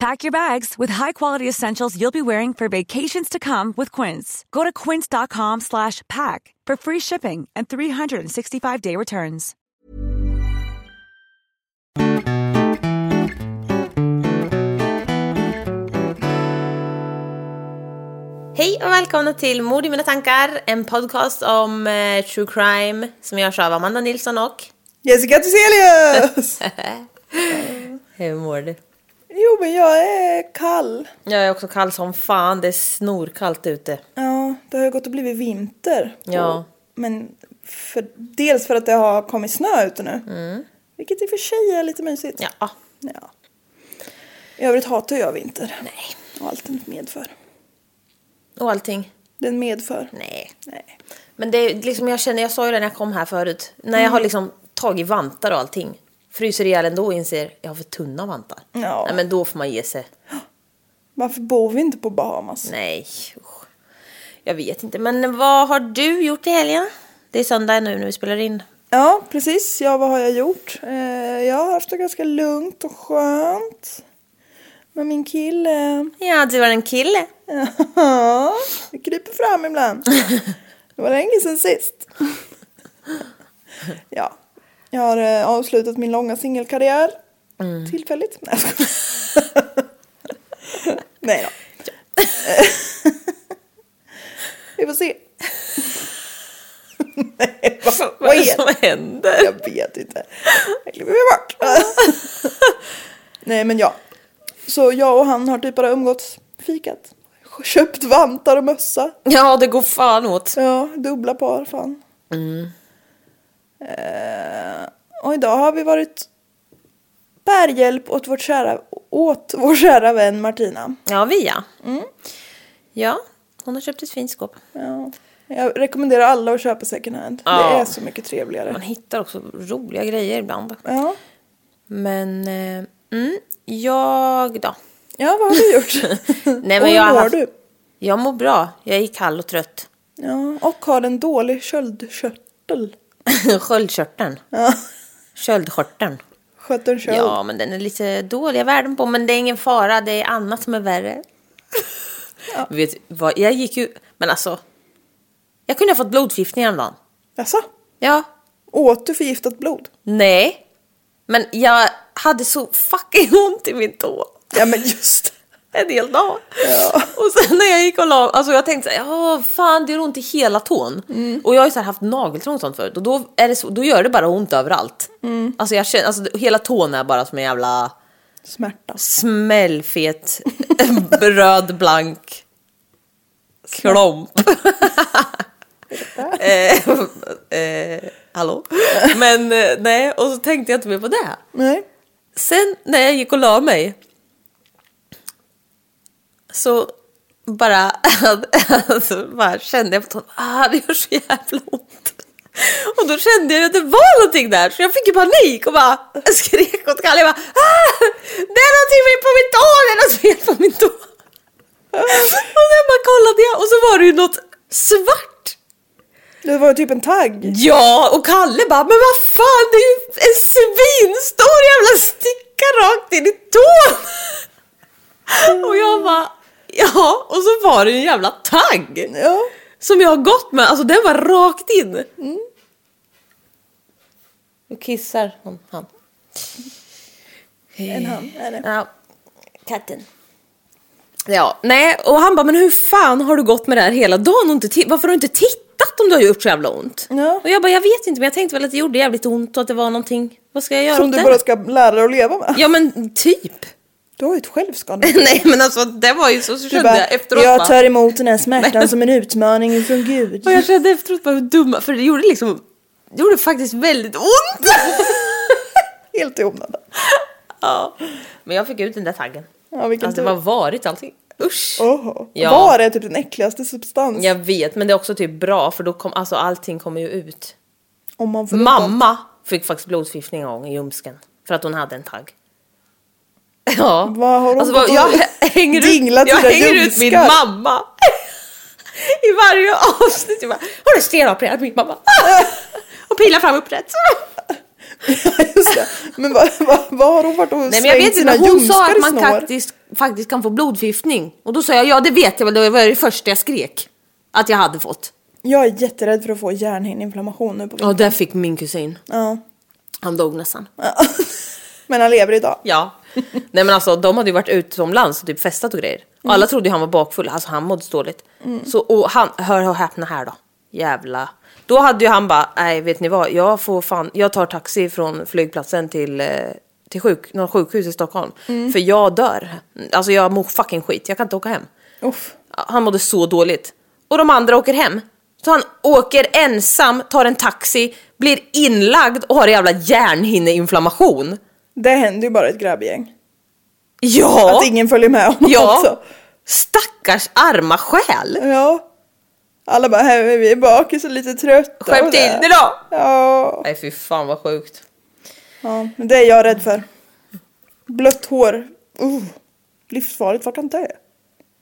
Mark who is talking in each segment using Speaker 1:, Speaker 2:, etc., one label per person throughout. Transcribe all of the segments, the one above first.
Speaker 1: Pack your bags with high-quality essentials you'll be wearing for vacations to come with Quince. Go to quince.com slash pack for free shipping and 365-day returns.
Speaker 2: Hej och välkomna till Mord i mina tankar, en podcast om eh, true crime som görs av Amanda Nilsson och...
Speaker 3: Jessica Thyselius!
Speaker 2: Hur mår du?
Speaker 3: jo men jag är kall.
Speaker 2: Jag är också kall som fan, det är snorkallt ute.
Speaker 3: Ja, det har ju gått och blivit vinter.
Speaker 2: Ja.
Speaker 3: Men för, dels för att det har kommit snö ute nu. Vilket i och för sig är lite mysigt.
Speaker 2: Mm. Ja.
Speaker 3: ja. I övrigt hatar jag vinter. Nej. Och allt den medför.
Speaker 2: Och allting?
Speaker 3: Den medför.
Speaker 2: Nej.
Speaker 3: Nej.
Speaker 2: Men det är liksom, jag känner, jag sa ju det när jag kom här förut, när jag har liksom tagit vantar och allting, fryser ihjäl ändå och inser jag har för tunna vantar.
Speaker 3: Ja.
Speaker 2: Nej men då får man ge sig.
Speaker 3: Varför bor vi inte på Bahamas?
Speaker 2: Nej, usch. Jag vet inte, men vad har du gjort i helgen? Det är söndag nu när vi spelar in.
Speaker 3: Ja, precis. Ja, vad har jag gjort? Eh, jag har haft det ganska lugnt och skönt. Med min kille.
Speaker 2: Ja, du var en kille.
Speaker 3: Ja, det kryper fram ibland. Det var länge sedan sist. Ja, jag har eh, avslutat min långa singelkarriär.
Speaker 2: Mm.
Speaker 3: Tillfälligt. Nej, jag skojar. Nej då. Vi får se. Nej, vad, vad
Speaker 2: Vad är det
Speaker 3: är
Speaker 2: som
Speaker 3: det?
Speaker 2: händer?
Speaker 3: Jag vet inte. Det klipper vi bort. Nej men ja. Så jag och han har typ bara umgåtts, fikat, köpt vantar och mössa.
Speaker 2: Ja, det går fan åt.
Speaker 3: Ja, dubbla par fan.
Speaker 2: Mm.
Speaker 3: Eh, och idag har vi varit bärhjälp åt, vårt kära, åt vår kära vän Martina.
Speaker 2: Ja, vi ja.
Speaker 3: Mm.
Speaker 2: Ja, hon har köpt ett fint skåp.
Speaker 3: Ja. Jag rekommenderar alla att köpa second hand.
Speaker 2: Ja.
Speaker 3: Det är så mycket
Speaker 2: Man
Speaker 3: trevligare.
Speaker 2: hittar också roliga grejer ibland.
Speaker 3: Ja.
Speaker 2: Men, eh, mm, jag då?
Speaker 3: ja, vad har du gjort?
Speaker 2: Nej, men
Speaker 3: och hur
Speaker 2: jag har
Speaker 3: mår
Speaker 2: haft-
Speaker 3: du?
Speaker 2: Jag mår bra. Jag är kall och trött.
Speaker 3: Ja, och har en dålig sköldkörtel.
Speaker 2: Sköldkörteln.
Speaker 3: Ja,
Speaker 2: Sköldskörteln.
Speaker 3: skötten köld.
Speaker 2: Ja, men den är lite dåliga värden på, men det är ingen fara, det är annat som är värre. Du Vet vad, jag gick ju, men alltså. Jag kunde ha fått blodförgiftning häromdagen.
Speaker 3: Jaså?
Speaker 2: Ja.
Speaker 3: Åt du förgiftat blod?
Speaker 2: Nej. Men jag hade så fucking ont i min tå.
Speaker 3: Ja, men just det.
Speaker 2: En hel dag.
Speaker 3: Ja.
Speaker 2: Och sen när jag gick och la alltså jag tänkte såhär, ja fan det gör ont i hela tån. Och jag har ju så här haft nageltrång och sånt förut och då, är det så, då gör det bara ont överallt. Alltså jag känner, alltså hela tån är bara som en jävla
Speaker 3: Smärta.
Speaker 2: smällfet, röd, blank klomp. eh, eh, hallå? Men eh, nej, och så tänkte jag inte mer på det.
Speaker 3: Nej.
Speaker 2: Sen när jag gick och la mig så bara, alltså, bara kände jag på tån, ah det gör så jävla ont. Och då kände jag att det var någonting där så jag fick ju panik och bara skrek åt Kalle. Jag bara, ah, det är någonting fel på min tå, det är något fel på min tå. Och sen bara kollade jag och så var det ju något svart
Speaker 3: Det var ju typ en tagg.
Speaker 2: Ja, och Kalle bara, men vad fan, det är ju en svinstor jävla sticka rakt in i tån! Och jag bara, ja, och så var det ju en jävla tagg!
Speaker 3: Ja.
Speaker 2: Som jag har gått med, alltså den var rakt in.
Speaker 3: Mm.
Speaker 2: Nu kissar hon, han.
Speaker 3: En han. Är det.
Speaker 2: Eh. Ja, katten. Ja, nej, och han bara, men hur fan har du gått med det här hela dagen och inte ti- varför har du inte tittat om du har gjort så jävla ont?
Speaker 3: Ja.
Speaker 2: Och jag bara, jag vet inte, men jag tänkte väl att det gjorde jävligt ont och att det var någonting, vad ska jag göra
Speaker 3: Som
Speaker 2: åt
Speaker 3: du
Speaker 2: det?
Speaker 3: bara ska lära dig att leva med.
Speaker 2: Ja men typ.
Speaker 3: Du har ju ett självskadande.
Speaker 2: nej men alltså det var ju så, så
Speaker 3: Du
Speaker 2: kände
Speaker 3: bara,
Speaker 2: jag efteråt
Speaker 3: jag
Speaker 2: bara.
Speaker 3: tar emot den här smärtan som en utmaning från Gud.
Speaker 2: Och jag kände efteråt bara hur dumma, för det gjorde liksom, det gjorde faktiskt väldigt ont.
Speaker 3: Helt i onödan.
Speaker 2: ja. Men jag fick ut den där taggen.
Speaker 3: Ja, vilken
Speaker 2: alltså det
Speaker 3: tur.
Speaker 2: var varigt allting. Usch.
Speaker 3: Oho.
Speaker 2: Ja.
Speaker 3: Var är typ den äckligaste substans?
Speaker 2: Jag vet, men det är också typ bra för då kom, alltså allting kommer ju ut.
Speaker 3: Om man får
Speaker 2: Mamma fick faktiskt blodförgiftning en gång i ljumsken för att hon hade en tagg. Ja.
Speaker 3: Vad har hon
Speaker 2: alltså,
Speaker 3: fått
Speaker 2: vad- jag
Speaker 3: ut?
Speaker 2: hänger
Speaker 3: Dinglat
Speaker 2: ut, jag
Speaker 3: sina
Speaker 2: hänger ut min
Speaker 3: ljumskar.
Speaker 2: mamma. I varje avsnitt. Jag bara, hon är stenopererad min mamma. Och pilar fram upprätt.
Speaker 3: Alltså, Just det. Men vad, vad, vad har hon varit och
Speaker 2: Nej men jag vet inte,
Speaker 3: slängt sina
Speaker 2: men hon sa
Speaker 3: ljumskar
Speaker 2: att
Speaker 3: i
Speaker 2: man
Speaker 3: snår?
Speaker 2: faktiskt, faktiskt kan få blodförgiftning. Och då sa jag, ja det vet jag väl, det var det första jag skrek. Att jag hade fått.
Speaker 3: Jag är jätterädd för att få hjärnhinneinflammation nu på vintern.
Speaker 2: Ja, där fick min kusin.
Speaker 3: Ja.
Speaker 2: Han dog nästan.
Speaker 3: Ja. Men han lever idag.
Speaker 2: Ja. Nej men alltså de hade ju varit utomlands och typ festat och grejer. Och alla trodde ju han var bakfull, alltså han mådde så dåligt. Så och han, hör och häpna här då. Jävla. Då hade ju han bara, nej vet ni vad, jag får fan, jag tar taxi från flygplatsen till, eh, till sjuk, någon sjukhus i Stockholm. För jag dör. Alltså jag mår fucking skit, jag kan inte åka hem.
Speaker 3: Uff.
Speaker 2: Han mådde så dåligt. Och de andra åker hem. Så han åker ensam, tar en taxi, blir inlagd och har jävla hjärnhinneinflammation.
Speaker 3: Det händer ju bara ett grabbgäng.
Speaker 2: Ja!
Speaker 3: Att ingen följer med honom
Speaker 2: Ja.
Speaker 3: också.
Speaker 2: Alltså. Stackars arma själ!
Speaker 3: Ja. Alla bara, här är vi är bakis och lite trötta.
Speaker 2: Skärp
Speaker 3: och
Speaker 2: till
Speaker 3: det."
Speaker 2: dig då!
Speaker 3: Ja.
Speaker 2: Nej fy fan vad sjukt.
Speaker 3: ja. Men det är jag rädd för. Blött hår. Uh. Livsfarligt, vart han det är.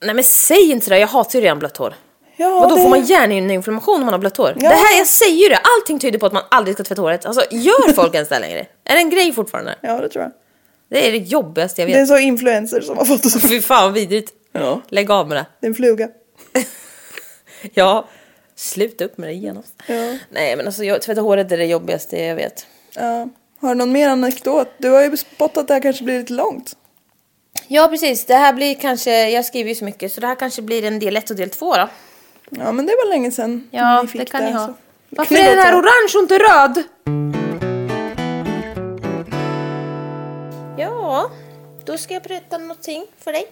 Speaker 2: Nej men säg inte det, jag hatar ju redan blött hår.
Speaker 3: Ja,
Speaker 2: Vadå
Speaker 3: det-
Speaker 2: får man hjärninflammation om man har blött hår?
Speaker 3: Ja.
Speaker 2: Det här, jag säger ju det, allting tyder på att man aldrig ska tvätta håret. Alltså gör folk ens det här längre? Är det en grej fortfarande?
Speaker 3: Ja, det tror jag.
Speaker 2: Det är det jobbigaste jag
Speaker 3: Det är
Speaker 2: vet.
Speaker 3: så influencer som har fått oss.
Speaker 2: Fy fan vad vidrigt.
Speaker 3: Ja.
Speaker 2: Lägg av med det.
Speaker 3: Det är en fluga.
Speaker 2: Ja, sluta upp med det genast.
Speaker 3: Ja.
Speaker 2: Nej men alltså jag, tvätta håret är det jobbigaste jag vet.
Speaker 3: Ja. Har du någon mer anekdot? Du har ju spottat att det här kanske blir lite långt.
Speaker 2: Ja precis, det här blir kanske, jag skriver ju så mycket så det här kanske blir en del 1 och del 2 då.
Speaker 3: Ja, men det var länge sedan
Speaker 2: Ja,
Speaker 3: ni fick
Speaker 2: det kan ni ha.
Speaker 3: så.
Speaker 2: Varför
Speaker 3: Kan ni
Speaker 2: är den här
Speaker 3: låta-
Speaker 2: orange och inte röd? Ja, då ska jag berätta någonting för dig.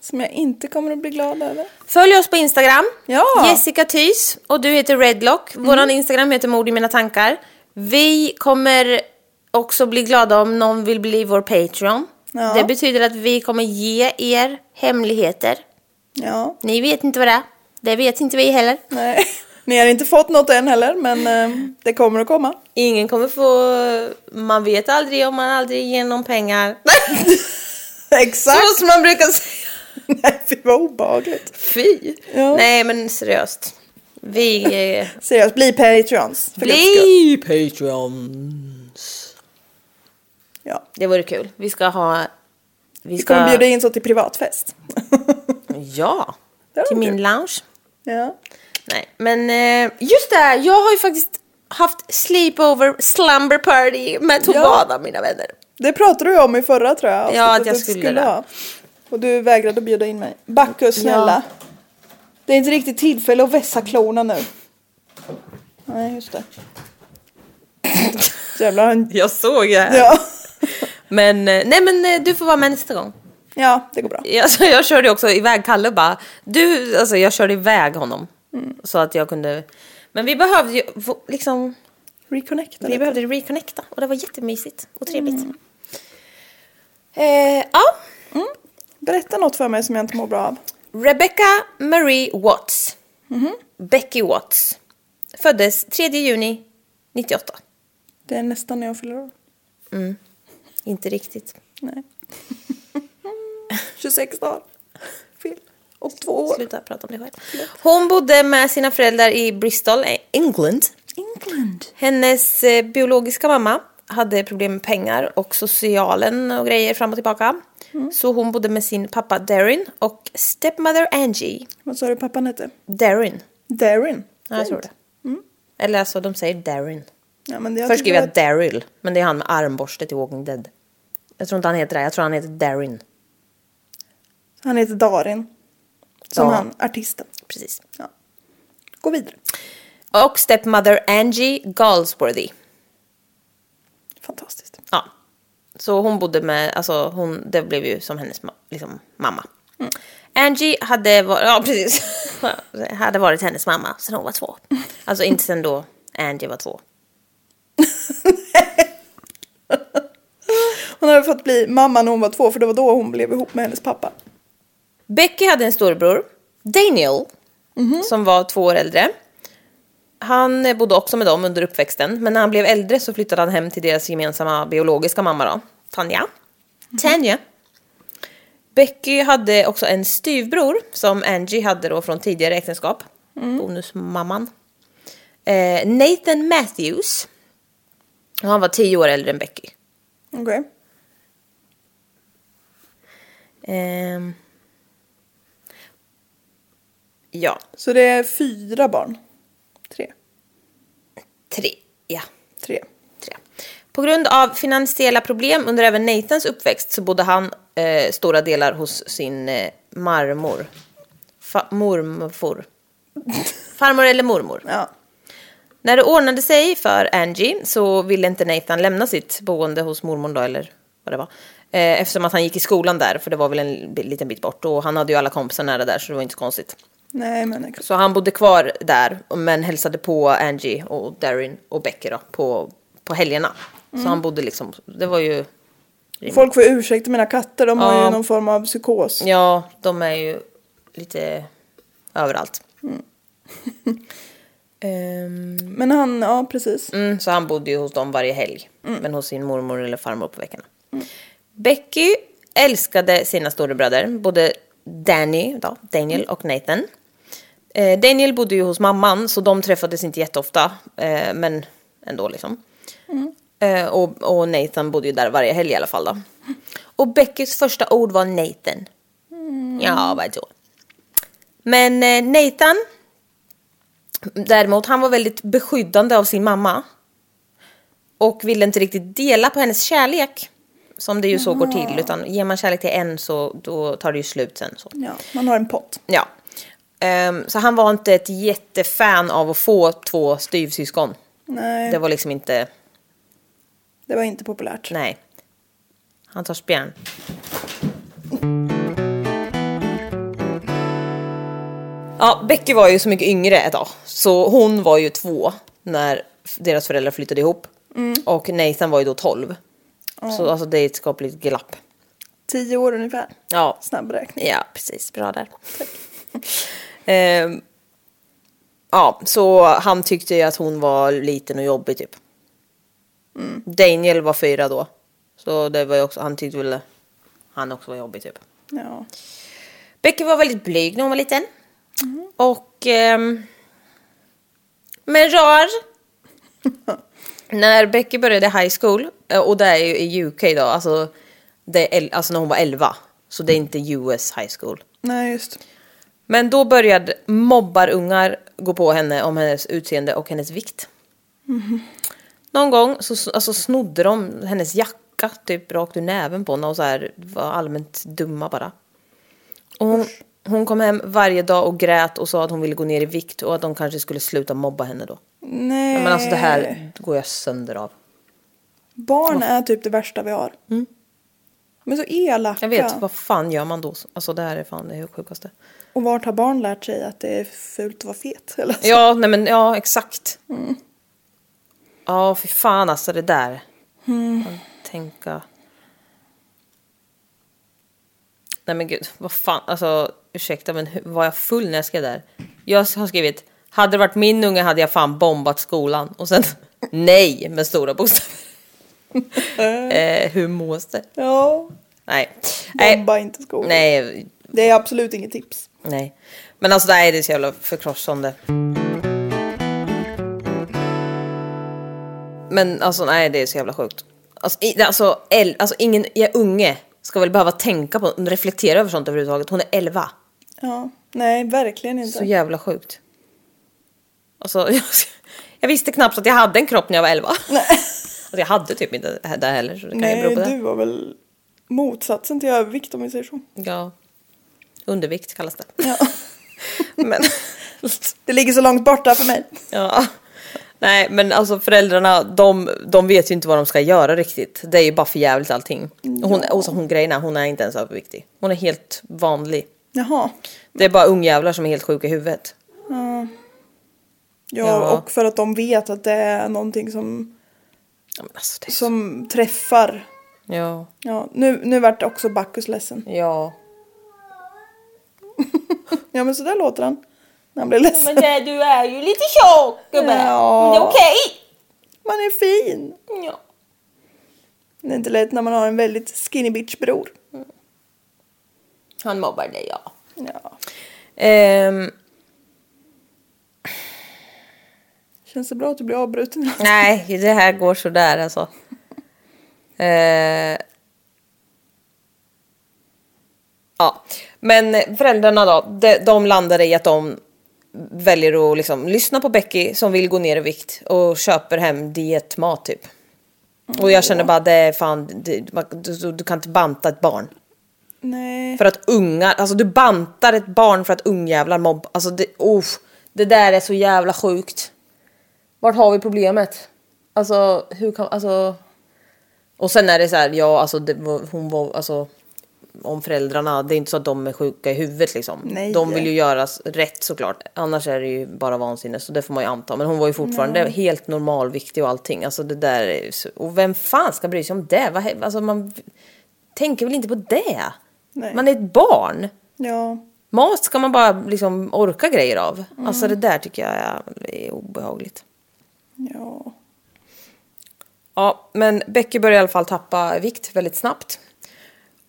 Speaker 3: Som jag inte kommer att bli glad över.
Speaker 2: Följ oss på Instagram.
Speaker 3: Ja.
Speaker 2: Jessica Thys och du heter Redlock. Vår Instagram heter Mord i mina tankar. Vi kommer också bli glada om någon vill bli vår Patreon.
Speaker 3: Ja.
Speaker 2: Det betyder att vi kommer ge er hemligheter.
Speaker 3: Ja,
Speaker 2: Ni vet inte vad det är. Det vet inte vi heller.
Speaker 3: nej. Ni har inte fått något än heller, men eh, det kommer att komma.
Speaker 2: Ingen kommer få... Man vet aldrig om man aldrig ger någon pengar.
Speaker 3: Exakt!
Speaker 2: Så som man brukar säga.
Speaker 3: Nej, fy vad obehagligt.
Speaker 2: Fy!
Speaker 3: Ja.
Speaker 2: Nej men seriöst. Vi... eh,
Speaker 3: Seriöst, bli Patreons. för guds skull.
Speaker 2: Bli Patreons!
Speaker 3: Ja.
Speaker 2: Det vore kul. Vi ska ha... Vi
Speaker 3: Vi
Speaker 2: ska...
Speaker 3: kommer bjuda in så till privatfest.
Speaker 2: Ja!
Speaker 3: Det var
Speaker 2: Till min
Speaker 3: kul.
Speaker 2: lounge.
Speaker 3: ja.
Speaker 2: Nej men eh, just det, här, jag har ju faktiskt haft sleepover slumber party med Tobada mina vänner.
Speaker 3: Det pratade du om i förra tror jag. avsnittet
Speaker 2: att jag
Speaker 3: du
Speaker 2: skulle det.
Speaker 3: ha. Och du vägrade att bjuda in mig. Backus snälla. Det är inte riktigt tillfälle att vässa klorna nu. Nej just det. Jävlar han...
Speaker 2: Jag såg det. här.
Speaker 3: Ja.
Speaker 2: Men eh, nej men eh, du får vara med nästa gång.
Speaker 3: ja, det går bra.
Speaker 2: Jag, alltså, jag körde också iväg Kalle bara. Du, alltså jag körde iväg honom.
Speaker 3: Mm.
Speaker 2: Så att jag kunde. Men vi behövde ju få- liksom.
Speaker 3: Reconnecta
Speaker 2: Vi
Speaker 3: lite.
Speaker 2: behövde reconnecta och det var jättemysigt och trevligt. Eh, ja.
Speaker 3: Berätta något för mig som jag inte mår bra av.
Speaker 2: Rebecca Marie Watts. Becky Watts. Föddes 3 juni 98.
Speaker 3: Det är nästan när jag fyller år.
Speaker 2: Inte riktigt.
Speaker 3: Nej. 26 dagar. Fel. Och två år.
Speaker 2: Sluta prata om det själv. Hon bodde med sina föräldrar i Bristol, eh, England.
Speaker 3: England.
Speaker 2: Hennes eh, biologiska mamma hade problem med pengar och socialen och grejer fram och tillbaka. Så hon bodde med sin pappa Darren och stepmother Angie.
Speaker 3: Vad sa du pappan hette?
Speaker 2: Darren.
Speaker 3: Darren.
Speaker 2: Ja, jag tror det. Eller alltså de säger Darren.
Speaker 3: Ja, men Mm. jag
Speaker 2: Först
Speaker 3: tycker
Speaker 2: skrev jag
Speaker 3: att-
Speaker 2: Daryl, men det är han med armborste till Walking Dead. Jag tror inte han heter det, jag tror han heter Darren.
Speaker 3: Han heter Darin. Som
Speaker 2: Ja.
Speaker 3: han, artisten.
Speaker 2: Precis.
Speaker 3: Ja. Gå vidare.
Speaker 2: Och stepmother Angie Galsworthy.
Speaker 3: Fantastiskt.
Speaker 2: Ja. Så hon bodde med, alltså hon, det blev ju som hennes ma- liksom, mamma.
Speaker 3: Mm.
Speaker 2: Angie hade, var, ja, precis. hade varit hennes mamma sedan hon var två. Alltså inte sedan då Angie var två.
Speaker 3: Hon hade fått bli mamma när hon var två för det var då hon blev ihop med hennes pappa.
Speaker 2: Becky hade en storbror, Daniel, som var två år äldre. Han eh, bodde också med dem under uppväxten, men när han blev äldre så flyttade han hem till deras gemensamma biologiska mamma då, Tanja. Tanja. Becky hade också en styvbror som Angie hade då från tidigare äktenskap. Bonusmamman. Eh, Nathan Matthews. Han var tio år äldre än Becky.
Speaker 3: Okej.
Speaker 2: Ehm. Ja,
Speaker 3: Så det är fyra barn. Tre.
Speaker 2: tre. Ja.
Speaker 3: Tre.
Speaker 2: Tre. På grund av finansiella problem under även Nathans uppväxt så bodde han eh, stora delar hos sin eh, marmor. Fa- mormor. Farmor eller mormor.
Speaker 3: Ja.
Speaker 2: När det ordnade sig för Angie så ville inte Nathan lämna sitt boende hos mormor då, eller vad det var. Eh, eftersom att han gick i skolan där, för det var väl en bi- liten bit bort. Och han hade ju alla kompisar nära där, så det var inte så konstigt.
Speaker 3: Nej men exakt.
Speaker 2: Så han bodde kvar där men hälsade på Angie och Darren och Becker då, på, på helgerna. Så han bodde liksom, det var ju,
Speaker 3: Folk får ursäkta mina katter, de har
Speaker 2: Ja.
Speaker 3: ju någon form av psykos.
Speaker 2: ja de är ju lite överallt. Ehm,
Speaker 3: Men han, ja precis.
Speaker 2: mm, så han bodde ju hos dem varje helg. Men hos sin mormor eller farmor på veckorna. Becky älskade sina storebröder, både Danny, då, Daniel och Nathan. Eh, Daniel bodde ju hos mamman så de träffades inte jätteofta, eh, men ändå liksom. Eh, och, och Nathan bodde ju där varje helg i alla fall då. Och Beckys första ord var Nathan. Ja, vadå? Men eh, Nathan, däremot, han var väldigt beskyddande av sin mamma. Och ville inte riktigt dela på hennes kärlek. Som det ju så går till, utan ger man kärlek till en så då tar det ju slut sen. Så.
Speaker 3: Ja, man har en pott.
Speaker 2: Ja. Ehm, så han var inte ett jättefan av att få två styvsyskon.
Speaker 3: Nej,
Speaker 2: Det var liksom inte,
Speaker 3: inte populärt.
Speaker 2: nej. Han tar spjärn. Ja, Becky var ju så mycket yngre ett tag. Så hon var ju två när f- deras föräldrar flyttade ihop. Och Nathan var ju då tolv. Så alltså det är ett skapligt glapp.
Speaker 3: Tio år ungefär.
Speaker 2: Ja.
Speaker 3: Snabb räkning.
Speaker 2: Ja, precis. Bra där. Ehm, ja, så han tyckte ju att hon var liten och jobbig typ. Daniel var fyra då. Så det var ju också, han tyckte väl han också var jobbig typ.
Speaker 3: Ja.
Speaker 2: Becky var väldigt blyg när hon var liten. Och... ehm, men rar. när Becky började high school, eh, och det är ju i UK då, alltså, det är, el- alltså när hon var 11. Så det är inte US high school.
Speaker 3: Nej, just.
Speaker 2: Men då började mobbarungar gå på henne om hennes utseende och hennes vikt. Någon gång så alltså, snodde de hennes jacka typ rakt ur näven på henne och så här var allmänt dumma bara. Och hon, hon kom hem varje dag och grät och sa att hon ville gå ner i vikt och att de kanske skulle sluta mobba henne då.
Speaker 3: Nej.
Speaker 2: Men alltså det här går jag sönder av.
Speaker 3: Barn är typ det värsta vi har. Mm. Men så elaka.
Speaker 2: Jag vet, vad fan gör man då? Alltså det här är fan det sjukaste.
Speaker 3: Och vart har barn lärt sig att det är fult att vara fet? Eller? så?
Speaker 2: Ja, nej men ja, exakt. Ja, fy fan alltså det där. Man Tänka. Nej men gud, vad fan, alltså ursäkta men hur, var jag full när jag skrev där? Jag har skrivit, hade det varit min unge hade jag fan bombat skolan. Och sen nej med stora bokstäver. eh, hur mås det?
Speaker 3: ja.
Speaker 2: Nej. nej.
Speaker 3: Bomba inte skolan.
Speaker 2: Nej,
Speaker 3: Det är absolut inget tips.
Speaker 2: Nej. Men alltså nej, det är så jävla förkrossande. Men alltså nej, det är så jävla sjukt. Alltså, i, alltså, el, alltså ingen ja, unge ska väl behöva tänka på, reflektera över sånt överhuvudtaget. Hon är 11.
Speaker 3: Ja, nej verkligen inte.
Speaker 2: Så jävla sjukt. Alltså, jag, jag visste knappt att jag hade en kropp när jag var 11.
Speaker 3: Nej.
Speaker 2: Alltså, jag hade typ inte det här heller, så det kan ju
Speaker 3: nej,
Speaker 2: bero på
Speaker 3: du
Speaker 2: det.
Speaker 3: var väl motsatsen till övervikt om vi säger så.
Speaker 2: Ja. Undervikt kallas det.
Speaker 3: Ja.
Speaker 2: Men...
Speaker 3: Det ligger så långt borta för mig.
Speaker 2: Ja. Nej men alltså föräldrarna de, de vet ju inte vad de ska göra riktigt. Det är ju bara för jävligt allting. Och Hon, och så hon grejerna, hon är inte ens överviktig. Hon är helt vanlig.
Speaker 3: Jaha.
Speaker 2: Det är bara ungjävlar som är helt sjuka i huvudet.
Speaker 3: Ja,
Speaker 2: Ja.
Speaker 3: och för att de vet att det är någonting som,
Speaker 2: Ja, men alltså, det är... så-
Speaker 3: som träffar.
Speaker 2: ja.
Speaker 3: Ja, nu, nu vart det också Bacchus ledsen.
Speaker 2: ja.
Speaker 3: Ja men sådär låter han. När han blir ledsen.
Speaker 4: Men det, du är ju lite tjock gubbe.
Speaker 3: Ja.
Speaker 4: Men det är okej.
Speaker 3: Man är fin.
Speaker 4: Ja.
Speaker 3: Det är inte lätt när man har en väldigt skinny bitch bror.
Speaker 4: Han mobbar dig ja.
Speaker 3: Ja.
Speaker 2: Ehm,
Speaker 3: Känns det bra att du blir avbruten?
Speaker 2: nej det här går sådär alltså. Ehm. Ja, men föräldrarna då, de, de landar i att de väljer att liksom lyssna på Becky som vill gå ner i vikt och köper hem dietmat typ. Och jag känner bara det är fan, det, man- du, du kan inte banta ett barn.
Speaker 3: Nej.
Speaker 2: För att ungar, alltså du bantar ett barn för att ungjävlar mobb. Alltså det, oh, det där är så jävla sjukt. Vart har vi problemet? Alltså hur kan, alltså. Och sen är det så här, ja alltså det, var- hon var, alltså. Om föräldrarna, det är inte så att de är sjuka i huvudet liksom.
Speaker 3: Nej.
Speaker 2: De vill ju göra s- rätt såklart. Annars är det ju bara vansinne så det får man ju anta. Men hon var ju fortfarande helt normalviktig och allting. Alltså det där är ju så, Och vem fan ska bry sig om det? Vad, he- alltså man tänker väl inte på det?
Speaker 3: Nej.
Speaker 2: Man är ett barn.
Speaker 3: Ja.
Speaker 2: Mat ska man bara liksom orka grejer av. Alltså det där tycker jag är, är obehagligt.
Speaker 3: Ja.
Speaker 2: Ja, men Becky börjar i alla fall tappa vikt väldigt snabbt.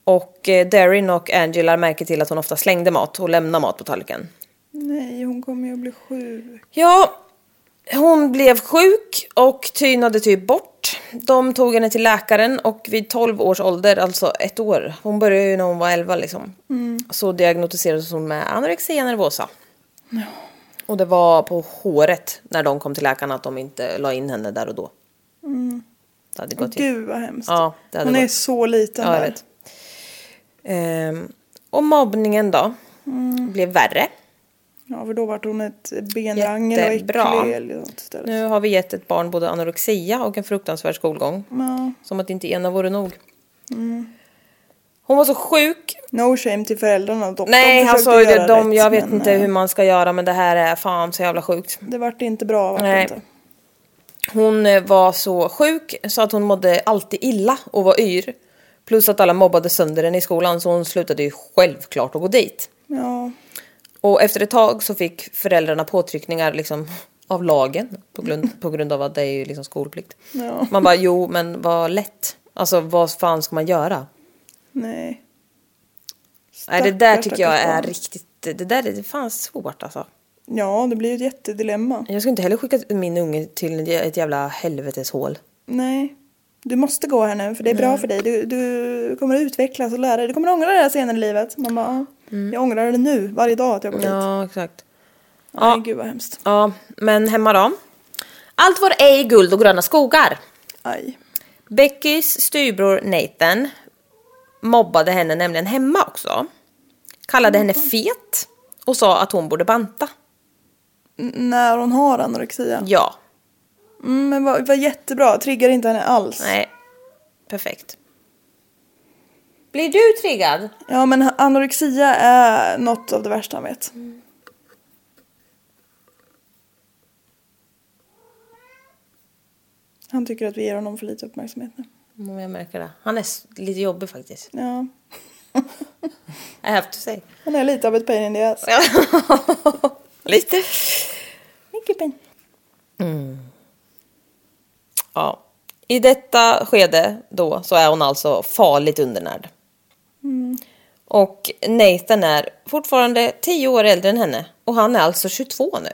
Speaker 2: Och eh, Darin och Angela märker till att hon ofta slängde mat och lämnade mat på tallriken.
Speaker 3: Nej, hon kommer ju att bli sjuk.
Speaker 2: Ja, hon blev sjuk och tynade typ bort. De tog henne till läkaren och vid 12 års ålder, alltså ett år, hon började ju när hon var 11 liksom,
Speaker 3: Mm.
Speaker 2: så diagnostiserades hon med anorexia nervosa. Och det var på håret när de kom till läkaren att de inte la in henne där och då. Det hade gått till.
Speaker 3: Mm. Gud vad hemskt.
Speaker 2: Ja, det hade
Speaker 3: hon är
Speaker 2: varit-
Speaker 3: så liten
Speaker 2: Ja, jag
Speaker 3: där.
Speaker 2: vet. Ehm, och mobbningen då,
Speaker 3: Mm.
Speaker 2: blev värre.
Speaker 3: Ja, för då vart hon ett benrangel och äcklig.
Speaker 2: Jättebra.
Speaker 3: eller något istället.
Speaker 2: Nu har vi gett ett barn både anorexia och en fruktansvärd skolgång.
Speaker 3: Ja.
Speaker 2: Som att inte ena vore nog.
Speaker 3: Mm.
Speaker 2: Hon var så sjuk.
Speaker 3: No shame till föräldrarna. De,
Speaker 2: Nej,
Speaker 3: de
Speaker 2: alltså
Speaker 3: försökte
Speaker 2: de,
Speaker 3: göra rätt,
Speaker 2: jag vet
Speaker 3: men,
Speaker 2: inte
Speaker 3: eh,
Speaker 2: hur man ska göra men det här är fan så jävla sjukt.
Speaker 3: Det vart inte bra. Vart
Speaker 2: Nej.
Speaker 3: Nej. Inte.
Speaker 2: Hon eh, var så sjuk så att hon mådde alltid illa och var yr. Plus att alla mobbade sönder henne i skolan så hon slutade ju självklart att gå dit.
Speaker 3: Ja.
Speaker 2: Och efter ett tag så fick föräldrarna påtryckningar liksom av lagen på grund, på grund av att det är ju liksom skolplikt.
Speaker 3: Ja.
Speaker 2: Man bara jo men vad lätt. Alltså vad fan ska man göra?
Speaker 3: Nej.
Speaker 2: Nej det där
Speaker 3: Stackars,
Speaker 2: tycker jag
Speaker 3: stackars
Speaker 2: är
Speaker 3: barn.
Speaker 2: riktigt, det det där är fan svårt alltså.
Speaker 3: Ja, det blir ju ett jättedilemma.
Speaker 2: Jag skulle inte heller skicka min unge till ett jävla helveteshål.
Speaker 3: Nej. Du måste gå här nu för det är bra för dig. Du, du kommer att utvecklas och lära dig. Du kommer att ångra det här senare i livet. Man bara, Jag ångrar det nu varje dag att jag går dit.
Speaker 2: Mm. Ja exakt.
Speaker 3: Nej,
Speaker 2: Ja,
Speaker 3: gud vad hemskt.
Speaker 2: ja, men hemma då? Allt var ej guld och gröna skogar.
Speaker 3: Aj.
Speaker 2: Beckys styvbror Nathan mobbade henne nämligen hemma också. Kallade henne fet och sa att hon borde banta.
Speaker 3: N- när hon har anorexia.
Speaker 2: Ja,
Speaker 3: Mm, men vad, vad jättebra. Triggar inte henne alls.
Speaker 2: nej. Perfekt. Blir du triggad?
Speaker 3: Ja men anorexia är något av det värsta han vet.
Speaker 2: Mm.
Speaker 3: Han tycker att vi ger honom för lite uppmärksamhet nu.
Speaker 2: Mm, Jag märker det. Han är s- lite jobbig faktiskt.
Speaker 3: Ja,
Speaker 2: I have to say.
Speaker 3: han är lite av ett pain in the ass.
Speaker 2: Lite.
Speaker 3: Mycket pain.
Speaker 2: Ja. I detta skede då så är hon alltså farligt undernärd. Och Nathan är fortfarande 10 år äldre än henne. Och han är alltså 22 nu.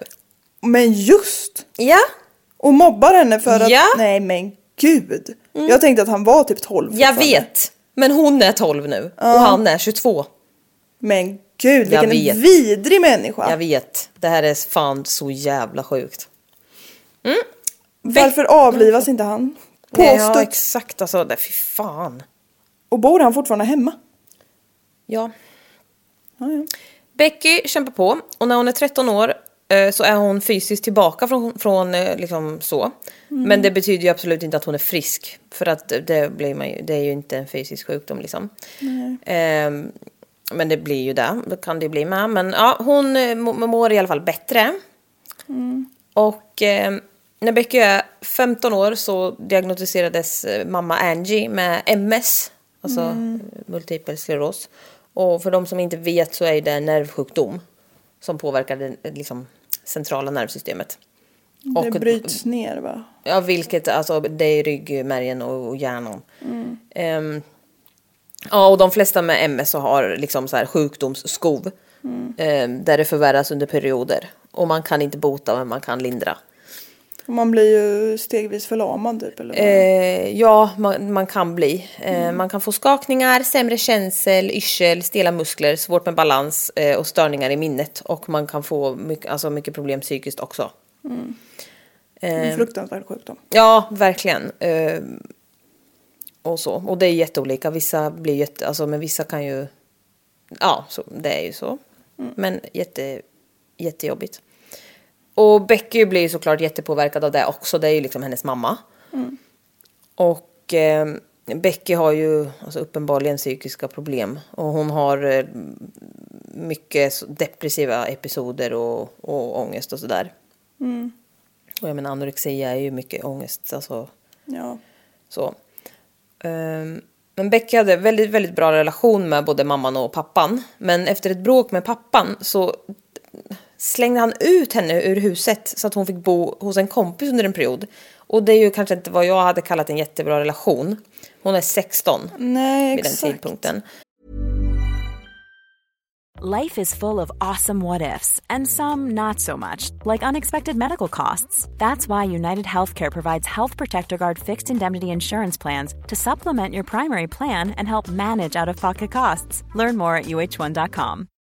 Speaker 3: Men just!
Speaker 2: Ja,
Speaker 3: Och mobbar henne för att...
Speaker 2: Ja. Mm.
Speaker 3: Nej men gud! Jag tänkte att han var typ 12
Speaker 2: jag
Speaker 3: fortfarande.
Speaker 2: vet. Men hon är 12 nu och han är 22.
Speaker 3: Men gud
Speaker 2: Jag
Speaker 3: vilken
Speaker 2: vet.
Speaker 3: vidrig människa!
Speaker 2: Jag vet. Det här är fan så jävla sjukt.
Speaker 3: Varför avlivas inte han?
Speaker 2: Ja,
Speaker 3: Påstått.
Speaker 2: exakt alltså. Det, fy fan.
Speaker 3: Och bor han fortfarande hemma?
Speaker 2: Ja.
Speaker 3: Ja, ja.
Speaker 2: Becky kämpar på och när hon är 13 år eh, så är hon fysiskt tillbaka från, från eh, liksom så.
Speaker 3: Mm.
Speaker 2: Men det betyder ju absolut inte att hon är frisk. För att det- det, blir man ju, det är ju inte en fysisk sjukdom liksom. Ehm, men det blir ju det, det kan det ju bli med. Men ja, hon eh, må- mår i alla fall bättre. Och eh, när Becky är 15 år så diagnostiserades eh, mamma Angie med MS, alltså
Speaker 3: Mm.
Speaker 2: eh, multipel skleros. Och för de som inte vet så är det en nervsjukdom som påverkar det eh, liksom, centrala nervsystemet.
Speaker 3: Mm, det bryts ner va?
Speaker 2: Ja, vilket alltså det är ryggmärgen och, och hjärnan.
Speaker 3: Mm.
Speaker 2: Ehm, ja, och de flesta med MS så har liksom så här sjukdomsskov.
Speaker 3: Mm.
Speaker 2: ehm, där det förvärras under perioder. Och man kan inte bota men man kan lindra.
Speaker 3: Och man blir ju stegvis förlamad typ eller vad? Mm.
Speaker 2: Eh, ja, man, man kan bli. Eh, Man kan få skakningar, sämre känsel, yrsel, stela muskler, svårt med balans eh, och störningar i minnet. Och man kan få mycket, alltså mycket problem psykiskt också. eh.
Speaker 3: En fruktansvärd sjukdom.
Speaker 2: Ja, verkligen. Eh, och så. Och det är jätteolika. Vissa blir jätte... Alltså, men vissa kan ju... Ja, så, det är ju så. Men jätte, jättejobbigt. Och Becky blir ju såklart jättepåverkad av det också. Det är ju liksom hennes mamma. Och eh, Becky har ju alltså, uppenbarligen psykiska problem. Och hon har eh, mycket så- depressiva episoder och, och ångest och sådär. Och jag menar anorexia är ju mycket ångest. Alltså,
Speaker 3: Ja.
Speaker 2: så. Ehm, men Becky hade väldigt, väldigt bra relation med både mamman och pappan. Men efter ett bråk med pappan så slängde han ut henne ur huset så att hon fick bo hos en kompis under en period. Och det är ju kanske inte vad jag hade kallat en jättebra relation. Hon är 16
Speaker 3: Nej
Speaker 2: vid den
Speaker 3: exakt.
Speaker 2: tidpunkten.
Speaker 5: Life is full of awesome what ifs and some not so much, like unexpected medical costs. That's why United Healthcare provides Health Protector Guard fixed indemnity insurance plans to supplement your primary plan and help manage out of pocket costs. Learn more at uh1.com.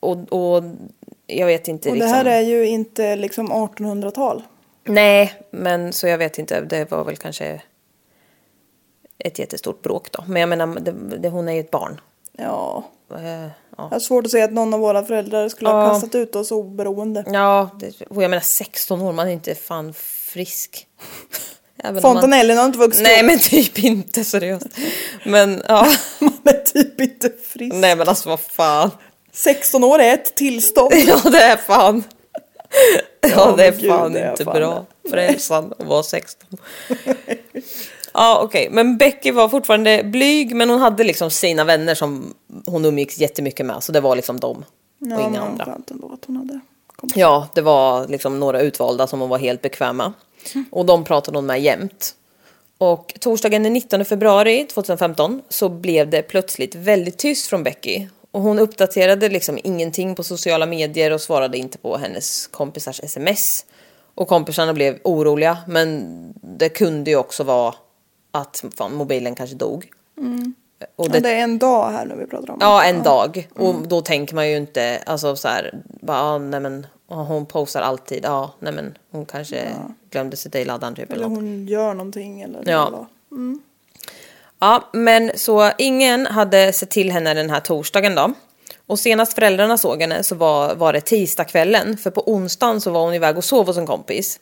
Speaker 2: Och, och jag vet inte
Speaker 3: Och det
Speaker 2: liksom...
Speaker 3: här är ju inte liksom 1800-tal.
Speaker 2: Nej, men så jag vet inte. Det var väl kanske ett jättestort bråk då. Men jag menar, det, det, hon är ju ett barn.
Speaker 3: Ja.
Speaker 2: Eh, ja.
Speaker 3: Jag har svårt att se att någon av våra föräldrar skulle ha
Speaker 2: Ja. Mm.
Speaker 3: kastat ut oss oberoende.
Speaker 2: Ja, det, och jag menar 16 år, man är inte fan frisk. Även om man-
Speaker 3: Fontanellen har inte vuxit
Speaker 2: Nej
Speaker 3: upp.
Speaker 2: men typ inte seriöst. Men ja.
Speaker 3: Man är typ inte frisk.
Speaker 2: Nej men alltså vad fan.
Speaker 3: 16 år är ett tillstånd.
Speaker 2: Ja det är fan. Ja
Speaker 3: men
Speaker 2: det är
Speaker 3: gud,
Speaker 2: fan
Speaker 3: det är
Speaker 2: inte
Speaker 3: fan
Speaker 2: bra för hälsan att vara 16. Ja okej, men Becky var fortfarande blyg men hon hade liksom sina vänner som hon umgicks jättemycket med. Så det var liksom dem och
Speaker 3: Ja,
Speaker 2: inga
Speaker 3: men
Speaker 2: andra.
Speaker 3: Skönt ändå att hon hade kommit.
Speaker 2: Ja, det var liksom några utvalda som hon var helt bekväm med.
Speaker 3: Mm.
Speaker 2: Och de pratade hon med jämt. Och torsdagen den 19 februari 2015 så blev det plötsligt väldigt tyst från Becky. Och hon uppdaterade liksom ingenting på sociala medier och svarade inte på hennes kompisars sms. Och kompisarna blev oroliga, men det kunde ju också vara att fan, mobilen kanske dog. Och
Speaker 3: Mm. Ja, det är en dag här nu vi pratar om.
Speaker 2: Ja, Mm. en dag. Och då tänker man ju inte, alltså så här, bara, ah, nej men, ah, hon postar alltid, ja, ah, nej men, hon kanske glömde sätta i laddaren typ eller
Speaker 3: Eller
Speaker 2: något.
Speaker 3: hon gör någonting eller
Speaker 2: Ja.
Speaker 3: vad.
Speaker 2: Ja, men så ingen hade sett till henne den här torsdagen då. Och senast föräldrarna såg henne så var, var det tisdagskvällen, för på onsdagen så var hon iväg och sov hos en kompis.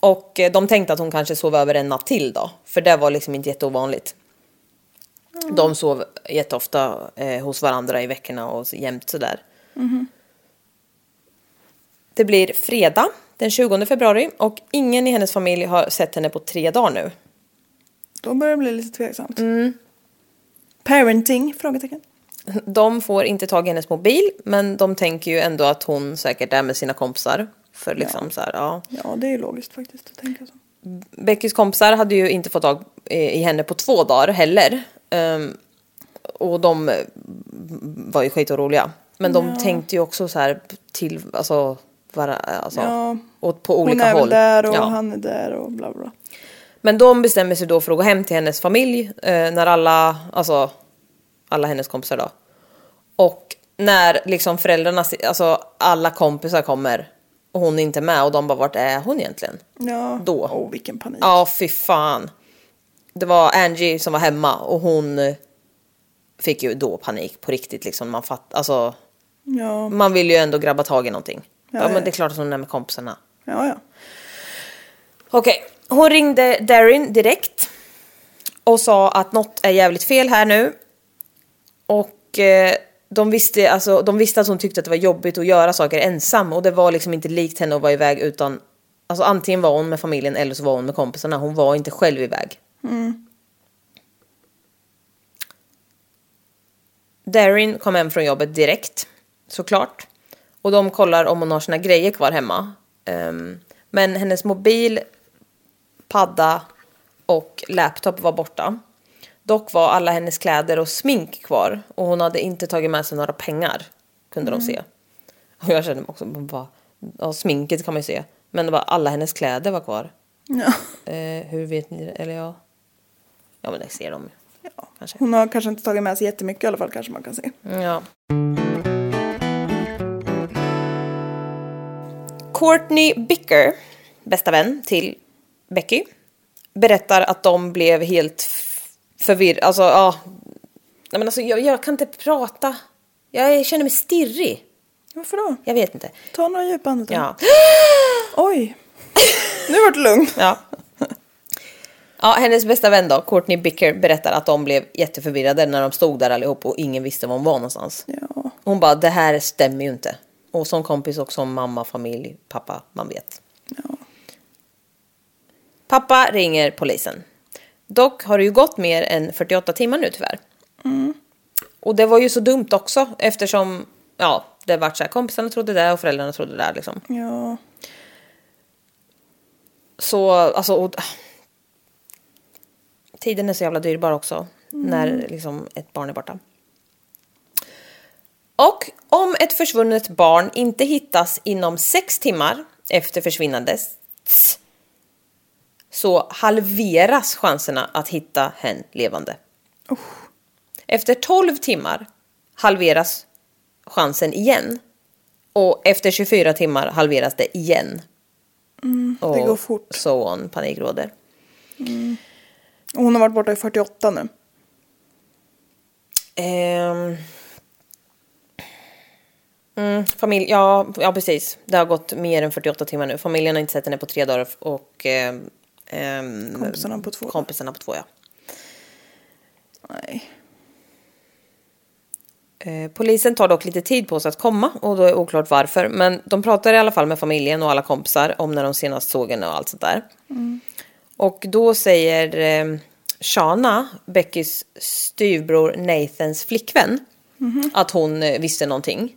Speaker 2: Och eh, de tänkte att hon kanske sov över en natt till då, för det var liksom inte jätteovanligt. De sov jätteofta eh, hos varandra i veckorna och så- jämt sådär. Det blir fredag den 20 februari och ingen i hennes familj har sett henne på tre dagar nu.
Speaker 3: Då börjar det bli lite tveksamt.
Speaker 2: Mm.
Speaker 3: Parenting? Frågetecken.
Speaker 2: De får inte tag i hennes mobil, men de tänker ju ändå att hon säkert är med sina kompisar. För liksom så här, ja.
Speaker 3: Ja, det är logiskt faktiskt att tänka så.
Speaker 2: Beckys kompisar hade ju inte fått tag i i henne på två dagar heller. Ehm, och de eh, var ju skitoroliga. Men de tänkte ju också så här till, alltså, vara, alltså
Speaker 3: Ja.
Speaker 2: åt, på
Speaker 3: Hon
Speaker 2: olika
Speaker 3: är
Speaker 2: håll.
Speaker 3: väl där och
Speaker 2: Ja.
Speaker 3: han är där och bla bla. bla.
Speaker 2: Men de bestämmer sig då för att gå hem till hennes familj eh, när alla, alltså alla hennes kompisar då. Och när liksom föräldrarna, se- alltså alla kompisar kommer och hon är inte med och de bara vart är hon egentligen?
Speaker 3: Ja.
Speaker 2: Då.
Speaker 3: Åh, vilken panik.
Speaker 2: Ja, fy fan. Det var Angie som var hemma och hon eh, fick ju då panik på riktigt liksom. Man fatt, alltså,
Speaker 3: Ja,
Speaker 2: man vill ju ändå grabba tag i någonting. Ja,
Speaker 3: Ja, ja.
Speaker 2: men det är klart att hon är med kompisarna.
Speaker 3: ja. ja.
Speaker 2: Okej, hon ringde Darin direkt och sa att något är jävligt fel här nu. Och eh, de, visste, alltså, de visste att hon tyckte att det var jobbigt att göra saker ensam och det var liksom inte likt henne att vara iväg utan alltså, antingen var hon med familjen eller så var hon med kompisarna. Hon var inte själv iväg. Darin kom hem från jobbet direkt, såklart. Och de kollar om hon har sina grejer kvar hemma. Ehm, men hennes mobil, padda och laptop var borta. Dock var alla hennes kläder och smink kvar och hon hade inte tagit med sig några pengar, kunde de se. Och jag kände mig också bara, ja, sminket kan man ju se. Men det var alla hennes kläder var kvar.
Speaker 3: ja.
Speaker 2: Eh, hur vet ni det? Eller ja... Ja men det ser de ju. Kanske.
Speaker 3: Hon har kanske inte tagit med sig jättemycket i alla fall kanske man kan se.
Speaker 2: Ja. Courtney Bicker, bästa vän till Becky, berättar att de blev helt f- förvirrade. Alltså, ja. Nej, men alltså, jag, jag kan inte prata. Jag känner mig stirrig.
Speaker 3: Varför då?
Speaker 2: Jag vet inte.
Speaker 3: Ta några djupa andetag.
Speaker 2: Ja.
Speaker 3: Oj. Nu vart det lugnt.
Speaker 2: Ja. Ja, hennes bästa vän då, Courtney Bicker, berättar att de blev jätteförvirrade när de stod där allihop och ingen visste var hon var någonstans.
Speaker 3: Ja.
Speaker 2: Hon bara, det här stämmer ju inte. Och som kompis och som mamma, familj, pappa, man vet.
Speaker 3: Ja.
Speaker 2: Pappa ringer polisen. Dock har det ju gått mer än 48 timmar nu tyvärr. Och det var ju så dumt också eftersom, ja, det vart så här, kompisarna trodde det och föräldrarna trodde det där liksom.
Speaker 3: Ja.
Speaker 2: Så, alltså... Och, tiden är så jävla dyrbar också.
Speaker 3: Mm.
Speaker 2: När liksom ett barn är borta. Och om ett försvunnet barn inte hittas inom sex timmar efter försvinnandet så halveras chanserna att hitta hen levande. Efter 12 timmar halveras chansen igen. Och efter 24 timmar halveras det igen. och
Speaker 3: Mm, går fort.
Speaker 2: so on, panik råder.
Speaker 3: Och Hon har varit borta i 48 nu.
Speaker 2: Ehm. Mm, familj, ja, ja, precis. Det har gått mer än 48 timmar nu. Familjen har inte sett henne på tre dagar och ehm, ehm,
Speaker 3: Kompisarna på två.
Speaker 2: kompisarna på två ja.
Speaker 3: Nej.
Speaker 2: Eh, Polisen tar dock lite tid på sig att komma och då är oklart varför. Men de pratar i alla fall med familjen och alla kompisar om när de senast såg henne och allt sånt där. Och då säger eh, Shana, Beckys styvbror Nathans flickvän, att hon eh, visste någonting.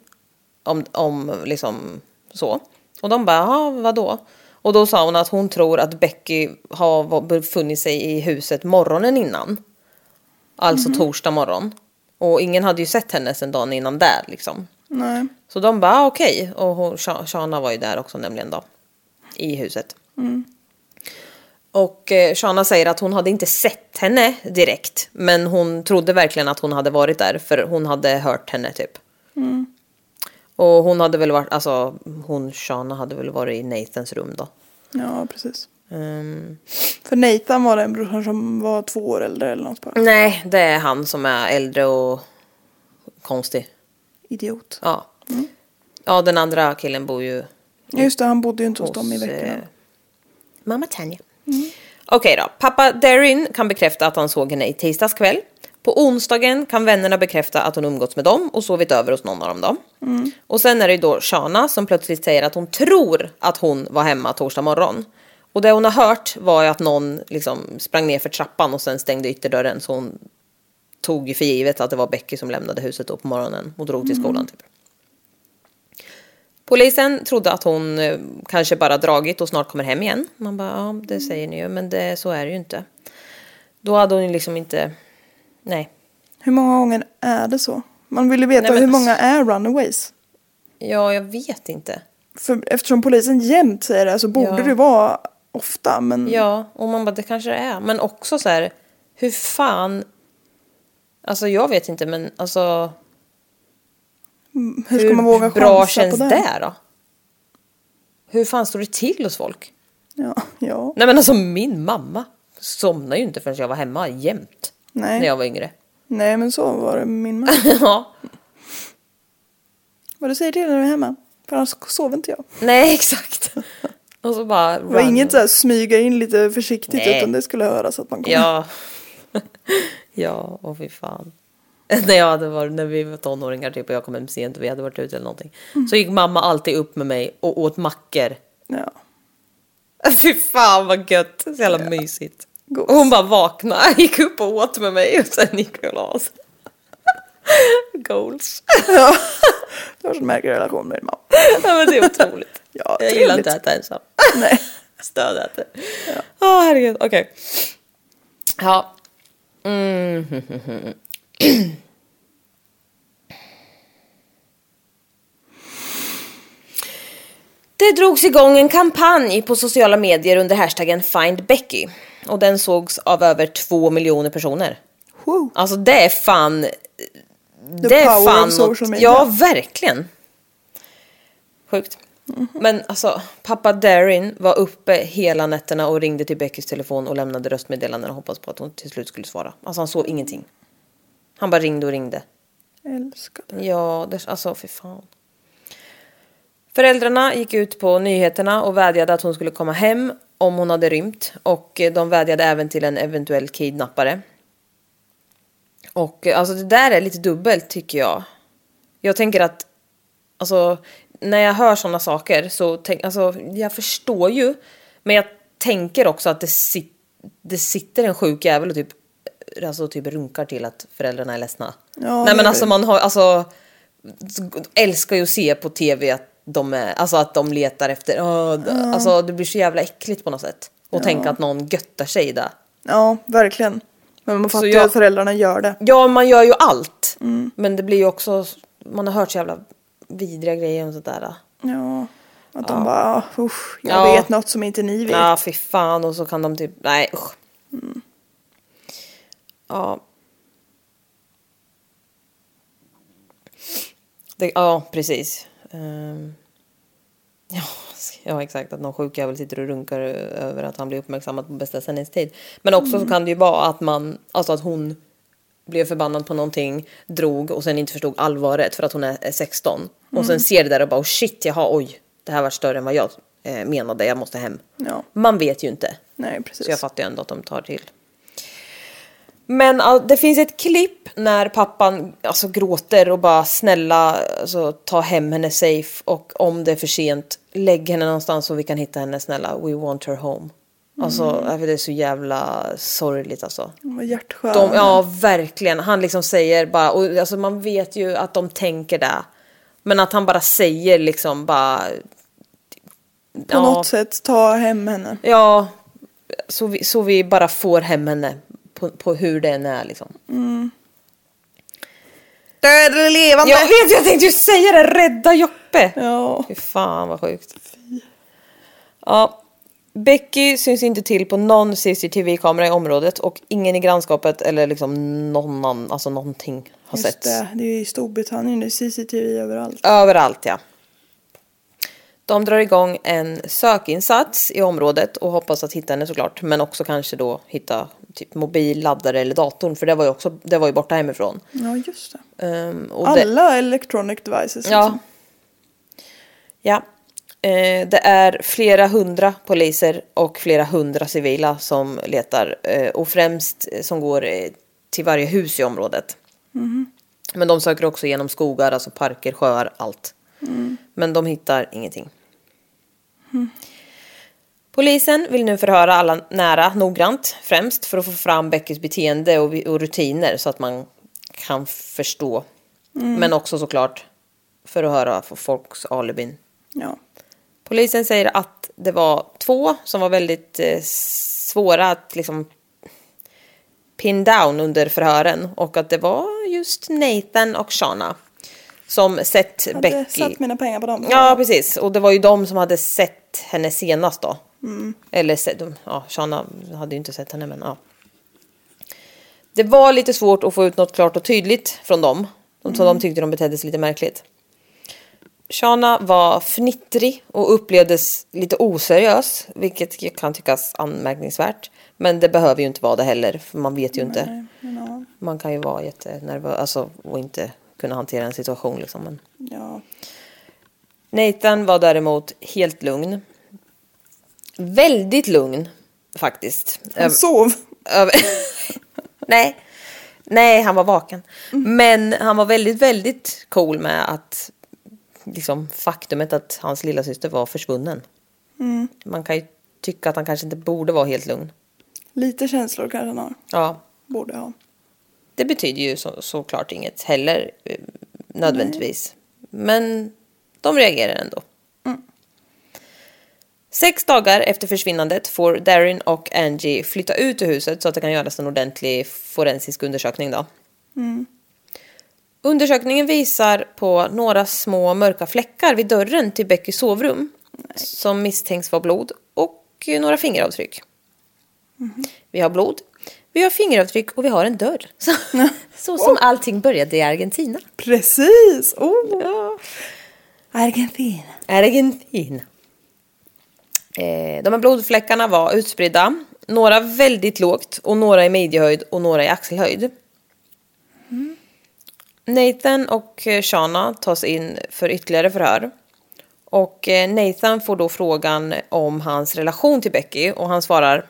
Speaker 2: Om, om liksom så. Och de bara, ja vadå? Och då sa hon att hon tror att Becky har var- befunnit sig i huset morgonen innan. Alltså torsdag morgon. Och ingen hade ju sett henne sedan dagen innan där liksom.
Speaker 3: Nej.
Speaker 2: Så de bara ah, okej. Och hon, Sha- Shana var ju där också nämligen då. I huset. Och eh, Shana säger att hon hade inte sett henne direkt. Men hon trodde verkligen att hon hade varit där. För hon hade hört henne typ. Och hon hade väl varit, alltså hon Shana hade väl varit i Nathans rum då.
Speaker 3: Ja, precis.
Speaker 2: Ehm,
Speaker 3: För Nathan var den brorsan som var två år äldre eller något bara.
Speaker 2: nej, det är han som är äldre och konstig.
Speaker 3: Idiot.
Speaker 2: Ja. Ja, den andra killen bor ju
Speaker 3: Ja, just det, han bodde ju inte hos, dem i
Speaker 2: eh,
Speaker 3: veckorna.
Speaker 2: mamma Tanja. Mm. Okej då. Pappa Darin kan bekräfta att han såg henne i tisdags kväll. På onsdagen kan vännerna bekräfta att hon umgåtts med dem och sovit över hos någon av dem. Då. Och sen är det ju då Shana som plötsligt säger att hon tror att hon var hemma torsdag morgon. Och det hon har hört var ju att någon liksom sprang ner för trappan och sen stängde ytterdörren så hon tog ju för givet att det var Becky som lämnade huset då på morgonen och drog till skolan. Typ. Polisen trodde att hon eh, kanske bara dragit och snart kommer hem igen. Man bara, ja det
Speaker 3: Mm.
Speaker 2: säger ni ju, men det, så är det ju inte. Då hade hon ju liksom inte, nej.
Speaker 3: Hur många gånger är det så? Man vill ju veta
Speaker 2: Nej, men-
Speaker 3: hur många är runaways.
Speaker 2: Ja, jag vet inte.
Speaker 3: För eftersom polisen jämt säger det här så borde
Speaker 2: Ja.
Speaker 3: det vara ofta. Men
Speaker 2: Ja, och man bara, det kanske det är. Men också så här, hur fan... Alltså jag vet inte, men alltså...
Speaker 3: hur ska man våga
Speaker 2: bra
Speaker 3: chansa
Speaker 2: känns
Speaker 3: på det?
Speaker 2: det då? Hur fan står det till hos folk?
Speaker 3: Ja, ja.
Speaker 2: Nej men alltså min mamma somnade ju inte förrän jag var hemma jämt.
Speaker 3: Nej.
Speaker 2: När jag var yngre.
Speaker 3: Nej men så var det med min man.
Speaker 2: ja.
Speaker 3: Vad du säger till när du är hemma. För annars sover inte jag.
Speaker 2: Nej exakt. Och så bara...
Speaker 3: Det var inget så här smyga in lite försiktigt
Speaker 2: Nej.
Speaker 3: utan det skulle höras att man kom.
Speaker 2: Ja. ja, och fy fan. när, jag hade varit, när vi var tonåringar typ, och jag kom hem sent och vi hade varit ute eller någonting.
Speaker 3: Mm.
Speaker 2: Så gick mamma alltid upp med mig och åt mackor.
Speaker 3: Ja.
Speaker 2: Fy fan vad gött, så jävla mysigt.
Speaker 3: Gos.
Speaker 2: Och hon bara vaknade, gick upp och åt med mig och sen gick hon och la sig. Goals.
Speaker 3: Du har sån märklig relation med din mamma.
Speaker 2: ja, men det är otroligt.
Speaker 3: Ja,
Speaker 2: jag gillar
Speaker 3: trevligt.
Speaker 2: inte att äta ensam.
Speaker 3: Nej.
Speaker 2: Stödäter. Ja. Åh herregud, okej. Ja. Mm. Det drogs igång en kampanj på sociala medier under hashtaggen Find Becky. Och den sågs av över två miljoner personer.
Speaker 3: Wow.
Speaker 2: Alltså det är fan...
Speaker 3: The
Speaker 2: det är
Speaker 3: power
Speaker 2: fan
Speaker 3: of social media.
Speaker 2: Ja, verkligen. Sjukt.
Speaker 3: Mm.
Speaker 2: Men alltså, pappa Darin var uppe hela nätterna och ringde till Beckys telefon och lämnade röstmeddelanden och hoppades på att hon till slut skulle svara. Alltså han såg ingenting. Han bara ringde och ringde.
Speaker 3: Älskar det.
Speaker 2: Ja, det, alltså för fan. Föräldrarna gick ut på nyheterna och vädjade att hon skulle komma hem om hon hade rymt. Och eh, de vädjade även till en eventuell kidnappare. Och eh, alltså det där är lite dubbelt tycker jag. Jag tänker att, alltså när jag hör sådana saker så tänk, alltså jag förstår ju. Men jag tänker också att det, sit, det sitter en sjuk jävel och typ, alltså typ runkar till att föräldrarna är ledsna.
Speaker 3: Ja,
Speaker 2: Nej men
Speaker 3: det-
Speaker 2: alltså man har, alltså älskar ju att se på tv att de, är, alltså att de letar efter, oh, alltså det blir så jävla äckligt på något sätt. Och tänka att någon göttar sig i det.
Speaker 3: Ja, verkligen. Men man fattar ju
Speaker 2: jag-
Speaker 3: att föräldrarna gör det.
Speaker 2: Ja, man gör ju allt. Men det blir ju också, man har hört så jävla vidriga grejer och sånt där.
Speaker 3: Ja. Att de bara, "Ah, usch, jag
Speaker 2: Ja.
Speaker 3: vet något som inte ni vet.
Speaker 2: Ja, fy fan. Och så kan de typ, nej usch. Ja. Det, ja, precis. Ehm. Ja, ja, exakt. Att någon sjuk jävel sitter och runkar över att han blir uppmärksammad på bästa sändningstid. Men också så kan det ju vara att man, alltså att hon blev förbannad på någonting, drog och sen inte förstod allvaret för att hon är är 16. Och sen ser det där och bara oh shit, jaha oj, det här var större än vad jag eh, menade, jag måste hem.
Speaker 3: Ja.
Speaker 2: Man vet ju inte.
Speaker 3: Nej, precis.
Speaker 2: Så jag fattar ju ändå att de tar till. Men all- det finns ett klipp när pappan alltså, gråter och bara snälla alltså, ta hem henne safe och om det är för sent lägg henne någonstans så vi kan hitta henne snälla. We want her home.
Speaker 3: Mm.
Speaker 2: Alltså för det är så jävla sorgligt alltså.
Speaker 3: Vad hjärtskär.
Speaker 2: De, ja verkligen. Han liksom säger bara och alltså, man vet ju att de tänker det. Men att han bara säger liksom bara.
Speaker 3: På något sätt ta hem henne.
Speaker 2: Ja, så vi, så vi bara får hem henne på, på hur den är liksom.
Speaker 3: Mm. Död eller levande.
Speaker 2: Jag vet, jag tänkte ju säga det! Rädda Joppe!
Speaker 3: Ja.
Speaker 2: Fy fan vad sjukt. Ja, Becky syns inte till på någon CCTV-kamera i området och ingen i grannskapet eller liksom någon, annan- alltså någonting har
Speaker 3: Just
Speaker 2: sett.
Speaker 3: det, det är ju i Storbritannien, det är CCTV överallt.
Speaker 2: Överallt ja. De drar igång en sökinsats i området och hoppas att hitta henne såklart. Men också kanske då hitta typ mobil, laddare eller datorn. För det var ju, också, det var ju borta hemifrån.
Speaker 3: Ja, just det.
Speaker 2: Ehm, och det-
Speaker 3: liksom. Alla electronic devices.
Speaker 2: Ja.
Speaker 3: liksom.
Speaker 2: ja. Eh, det är flera hundra poliser och flera hundra civila som letar eh, och främst eh, som går eh, till varje hus i området. Men de söker också genom skogar, alltså parker, sjöar, allt. Men de hittar ingenting. Polisen vill nu förhöra alla nära noggrant, främst för att få fram Beckys beteende och, och rutiner så att man kan förstå. Men också såklart för att höra för folks alibin.
Speaker 3: Ja.
Speaker 2: Polisen säger att det var två som var väldigt eh, svåra att liksom pin down under förhören och att det var just Nathan och Shana som sett
Speaker 3: Jag hade
Speaker 2: Becky.
Speaker 3: satt mina pengar på dem.
Speaker 2: Ja, precis. Och det var ju de som hade sett henne senast då. Eller sett, ja, Shanna hade ju inte sett henne men ja. Det var lite svårt att få ut något klart och tydligt från dem. De, så de tyckte de betedde sig lite märkligt. Shana var fnittrig och upplevdes lite oseriös, vilket kan tyckas anmärkningsvärt. Men det behöver ju inte vara det heller, för man vet ju inte. Man kan ju vara jättenervös alltså, och inte kunna hantera en situation. Liksom. Men...
Speaker 3: Ja.
Speaker 2: Nathan var däremot helt lugn. Väldigt lugn, faktiskt.
Speaker 3: Han sov.
Speaker 2: Över... Nej. Nej, han var vaken. Men han var väldigt, väldigt cool med att liksom, faktumet att hans lilla syster var försvunnen. Man kan ju tycka att han kanske inte borde vara helt lugn.
Speaker 3: Lite känslor kanske han har.
Speaker 2: Ja,
Speaker 3: Borde ha.
Speaker 2: det betyder ju så, såklart inget heller eh, nödvändigtvis. Men de reagerar ändå. Sex dagar efter försvinnandet får Darin och Angie flytta ut ur huset så att det kan göras en ordentlig forensisk undersökning. Då. Undersökningen visar på några små mörka fläckar vid dörren till Beckys sovrum som misstänks vara blod och några fingeravtryck. Vi har blod, vi har fingeravtryck och vi har en dörr. Så, så som allting började i Argentina.
Speaker 3: Precis! Oh. Ja. Argentina.
Speaker 2: Argentina. Eh, de här blodfläckarna var utspridda. Några väldigt lågt och några i midjehöjd och några i axelhöjd. Nathan och eh, Shana tas in för ytterligare förhör. Och eh, Nathan får då frågan om hans relation till Becky och han svarar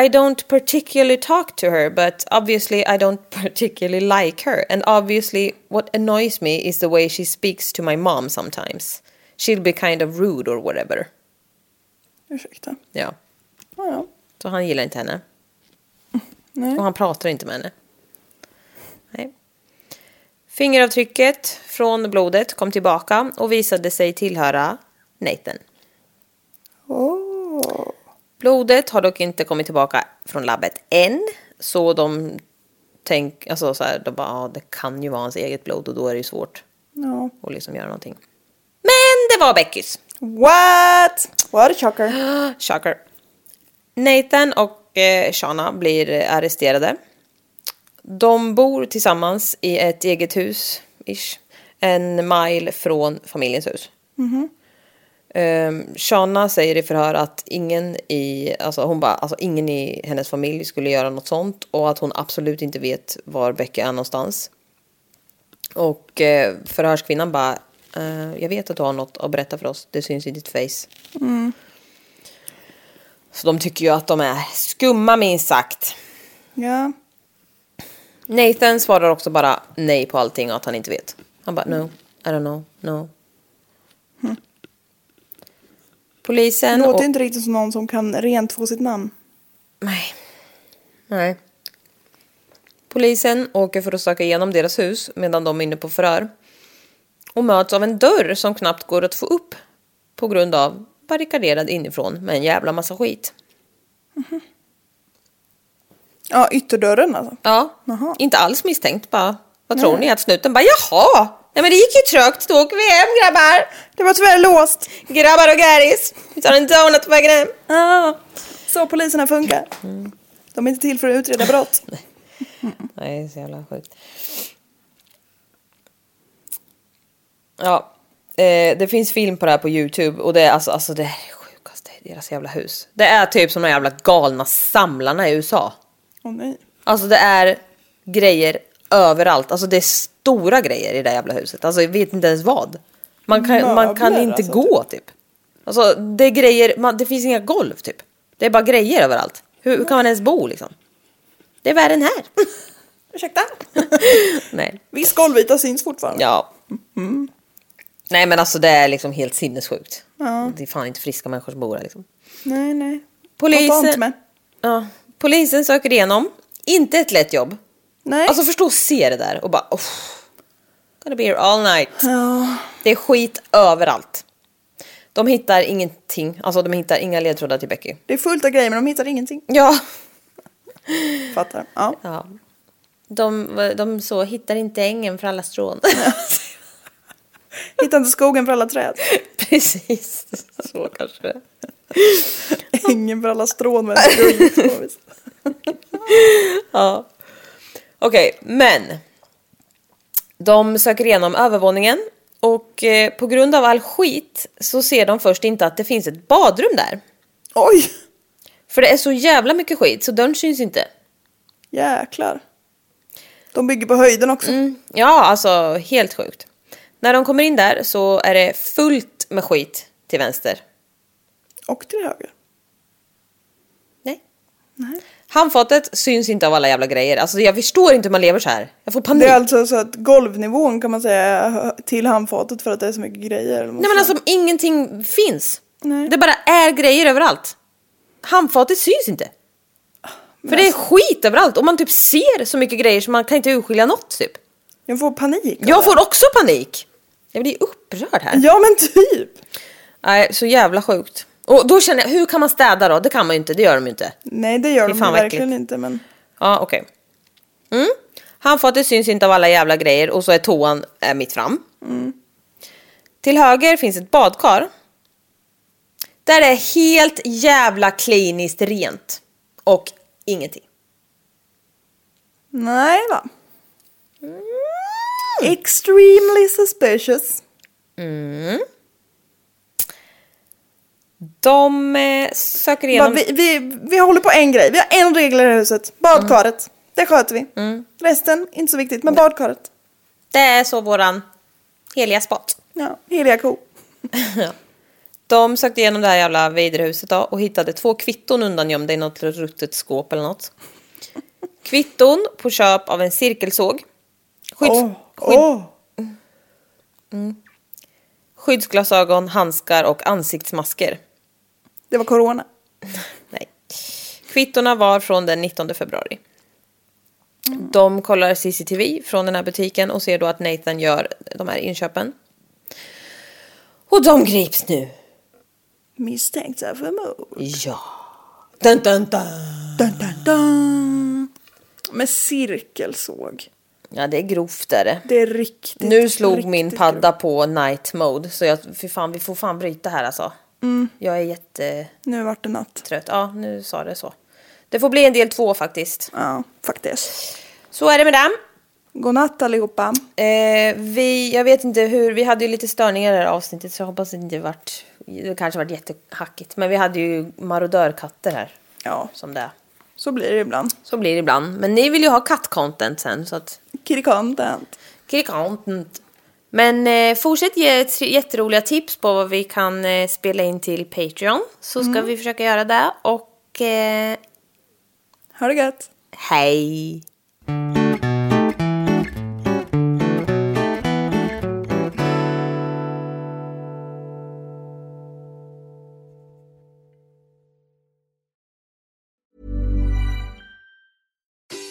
Speaker 2: I don't particularly talk to her but obviously I don't particularly like her and obviously what annoys me is the way she speaks to my mom sometimes. She'll be kind of rude or whatever.
Speaker 3: Ursäkta.
Speaker 2: Ja,
Speaker 3: Ja, ja.
Speaker 2: så han gillar inte henne.
Speaker 3: Nej.
Speaker 2: Och han pratar inte med henne. Nej. Fingeravtrycket från blodet kom tillbaka och visade sig tillhöra Nathan.
Speaker 3: Oh.
Speaker 2: Blodet har dock inte kommit tillbaka från labbet än. Så de tänk, alltså så här, de bara, ja det kan ju vara hans eget blod och då är det ju svårt
Speaker 3: Ja.
Speaker 2: att liksom göra någonting. Men det var Beckys.
Speaker 3: What? What a shocker.
Speaker 2: Shocker. Nathan och eh, Shana blir eh, arresterade. De bor tillsammans i ett eget hus, ish, en mile från familjens hus. Ehm, Shana säger i förhör att ingen i, alltså hon bara, alltså ingen i hennes familj skulle göra något sånt och att hon absolut inte vet var Becky är någonstans. Och eh, förhörskvinnan bara, eh, jag vet att du har något att berätta för oss, det syns i ditt face. Så de tycker ju att de är skumma minst sagt.
Speaker 3: Ja.
Speaker 2: Nathan svarar också bara nej på allting och att han inte vet. Han bara no, I don't know, no. Polisen
Speaker 3: Låter
Speaker 2: och...
Speaker 3: inte riktigt som någon som kan rent få sitt namn.
Speaker 2: Nej. Nej. Polisen åker för att söka igenom deras hus medan de är inne på förhör. Och möts av en dörr som knappt går att få upp på grund av barrikaderad inifrån med en jävla massa skit.
Speaker 3: Ja, ytterdörren alltså.
Speaker 2: Ja,
Speaker 3: Jaha.
Speaker 2: inte alls misstänkt bara. Vad tror ni att snuten bara jaha? Nej men det gick ju trögt, då åker vi hem grabbar.
Speaker 3: Det var tyvärr låst.
Speaker 2: Grabbar och gäris. Vi tar en donut på vägen hem.
Speaker 3: Ah. Så poliserna funkar. De är inte till för att utreda brott.
Speaker 2: Nej, det är så jävla sjukt. Ja, eh, det finns film på det här på Youtube och det är alltså, alltså det här är det sjukaste i deras jävla hus. Det är typ som de jävla galna samlarna i USA.
Speaker 3: Åh nej.
Speaker 2: Alltså det är grejer överallt. Alltså det är stora grejer i det jävla huset. Alltså jag vet inte ens vad. Man kan, man kan
Speaker 3: Möbler,
Speaker 2: inte
Speaker 3: alltså,
Speaker 2: gå typ. Alltså det är grejer, man, det finns inga golv typ. Det är bara grejer överallt. Hur, hur kan man ens bo liksom? Det är värre än här.
Speaker 3: Ursäkta?
Speaker 2: Nej.
Speaker 3: Viss golvyta syns fortfarande.
Speaker 2: Ja. Nej men alltså det är liksom helt sinnessjukt. Det är fan inte friska människor som bor här liksom.
Speaker 3: Nej, nej. Ta inte
Speaker 2: Polisen,
Speaker 3: med.
Speaker 2: ja, polisen söker igenom. Inte ett lätt jobb.
Speaker 3: Nej.
Speaker 2: Alltså förstå att se det där och bara oh, Gonna be here all night.
Speaker 3: Ja.
Speaker 2: Det är skit överallt. De hittar ingenting. Alltså de hittar inga ledtrådar till Becky.
Speaker 3: Det är fullt av grejer men de hittar ingenting.
Speaker 2: Ja.
Speaker 3: Fattar. Ja.
Speaker 2: ja. De, de så hittar inte ängen för alla strån.
Speaker 3: Hittar inte skogen för alla träd.
Speaker 2: Precis. Så kanske det är.
Speaker 3: Ängen för alla strån. Men det går inte på vis.
Speaker 2: Ja. Okej, men. De söker igenom övervåningen och eh, på grund av all skit så ser de först inte att det finns ett badrum där.
Speaker 3: Oj!
Speaker 2: För det är så jävla mycket skit så dörren syns inte.
Speaker 3: Jäklar. De bygger på höjden också.
Speaker 2: Mm. Ja, alltså helt sjukt. När de kommer in där så är det fullt med skit till vänster.
Speaker 3: Och till höger.
Speaker 2: Nej.
Speaker 3: Nej.
Speaker 2: Handfatet syns inte av alla jävla grejer. Alltså jag förstår inte hur man lever så här. Jag får panik.
Speaker 3: Det är alltså så att golvnivån kan man säga är till handfatet för att det är så mycket grejer. eller vad
Speaker 2: Nej men
Speaker 3: man
Speaker 2: alltså ingenting finns.
Speaker 3: Nej.
Speaker 2: Det bara är grejer överallt. Handfatet syns inte. För det är
Speaker 3: alltså-
Speaker 2: skit överallt och man typ ser så mycket grejer så man kan inte urskilja något typ.
Speaker 3: säger. Jag får panik. av
Speaker 2: Jag
Speaker 3: det.
Speaker 2: får också panik. Jag blir upprörd här.
Speaker 3: Ja men typ.
Speaker 2: Nej, så jävla sjukt. Och då känner jag, hur kan man städa då? Det kan man ju inte, det gör de ju inte.
Speaker 3: Nej det gör
Speaker 2: Fy
Speaker 3: de
Speaker 2: fan, vad
Speaker 3: verkligen
Speaker 2: äckligt.
Speaker 3: inte men.
Speaker 2: Ja, okej. Mm. Handfatet syns inte av alla jävla grejer och så är toan eh, mitt fram. Till höger finns ett badkar. Där det är helt jävla kliniskt rent. Och ingenting.
Speaker 3: Nej va. Extremely suspicious.
Speaker 2: De eh, söker
Speaker 3: Bara,
Speaker 2: igenom...
Speaker 3: vi, vi, vi håller på en grej. Vi har en regel i det här huset. Badkaret.
Speaker 2: Mm.
Speaker 3: Det sköter vi. Resten, inte så viktigt. Men badkaret.
Speaker 2: Det är så våran heliga spot.
Speaker 3: Ja, heliga ko.
Speaker 2: De sökte igenom det här jävla viderhuset då och hittade två kvitton undangömda i något ruttet skåp eller något. Kvitton på köp av en cirkelsåg. Skydds,
Speaker 3: Åh,
Speaker 2: skydd,
Speaker 3: åh.
Speaker 2: Skyddsglasögon, handskar och ansiktsmasker.
Speaker 3: Det var corona.
Speaker 2: Nej. Kvittorna var från den 19 februari. De kollar CCTV från den här butiken och ser då att Nathan gör de här inköpen. Och de grips nu.
Speaker 3: Misstänkta för mord.
Speaker 2: Ja. Dun, dun, dun.
Speaker 3: Dun, dun, dun. Med cirkelsåg.
Speaker 2: Ja, det är grovt är det.
Speaker 3: Det är riktigt.
Speaker 2: Nu slog
Speaker 3: riktigt
Speaker 2: min padda på night mode så jag, fy fan, vi får fan bryta här alltså.
Speaker 3: Mm.
Speaker 2: Jag är jättetrött.
Speaker 3: grovt. Nu vart det natt.
Speaker 2: Ja, nu sa det så. Det får bli en del två faktiskt.
Speaker 3: Ja, faktiskt.
Speaker 2: Så är det med den.
Speaker 3: Godnatt allihopa.
Speaker 2: Eh, vi, jag vet inte hur, vi hade ju lite störningar i det här avsnittet så jag hoppas att det inte vart, det kanske vart jättehackigt. Men vi hade ju marodörkatter här.
Speaker 3: Ja,
Speaker 2: Som det är.
Speaker 3: så blir det ibland.
Speaker 2: Så blir det ibland. Men ni vill ju ha kattcontent sen så att
Speaker 3: Kitty content.
Speaker 2: Klick content. Men eh, fortsätt ge tre- jätteroliga tips på vad vi kan eh, spela in till Patreon. Så ska vi försöka göra det. Och eh,
Speaker 3: Ha det gött.
Speaker 2: hej!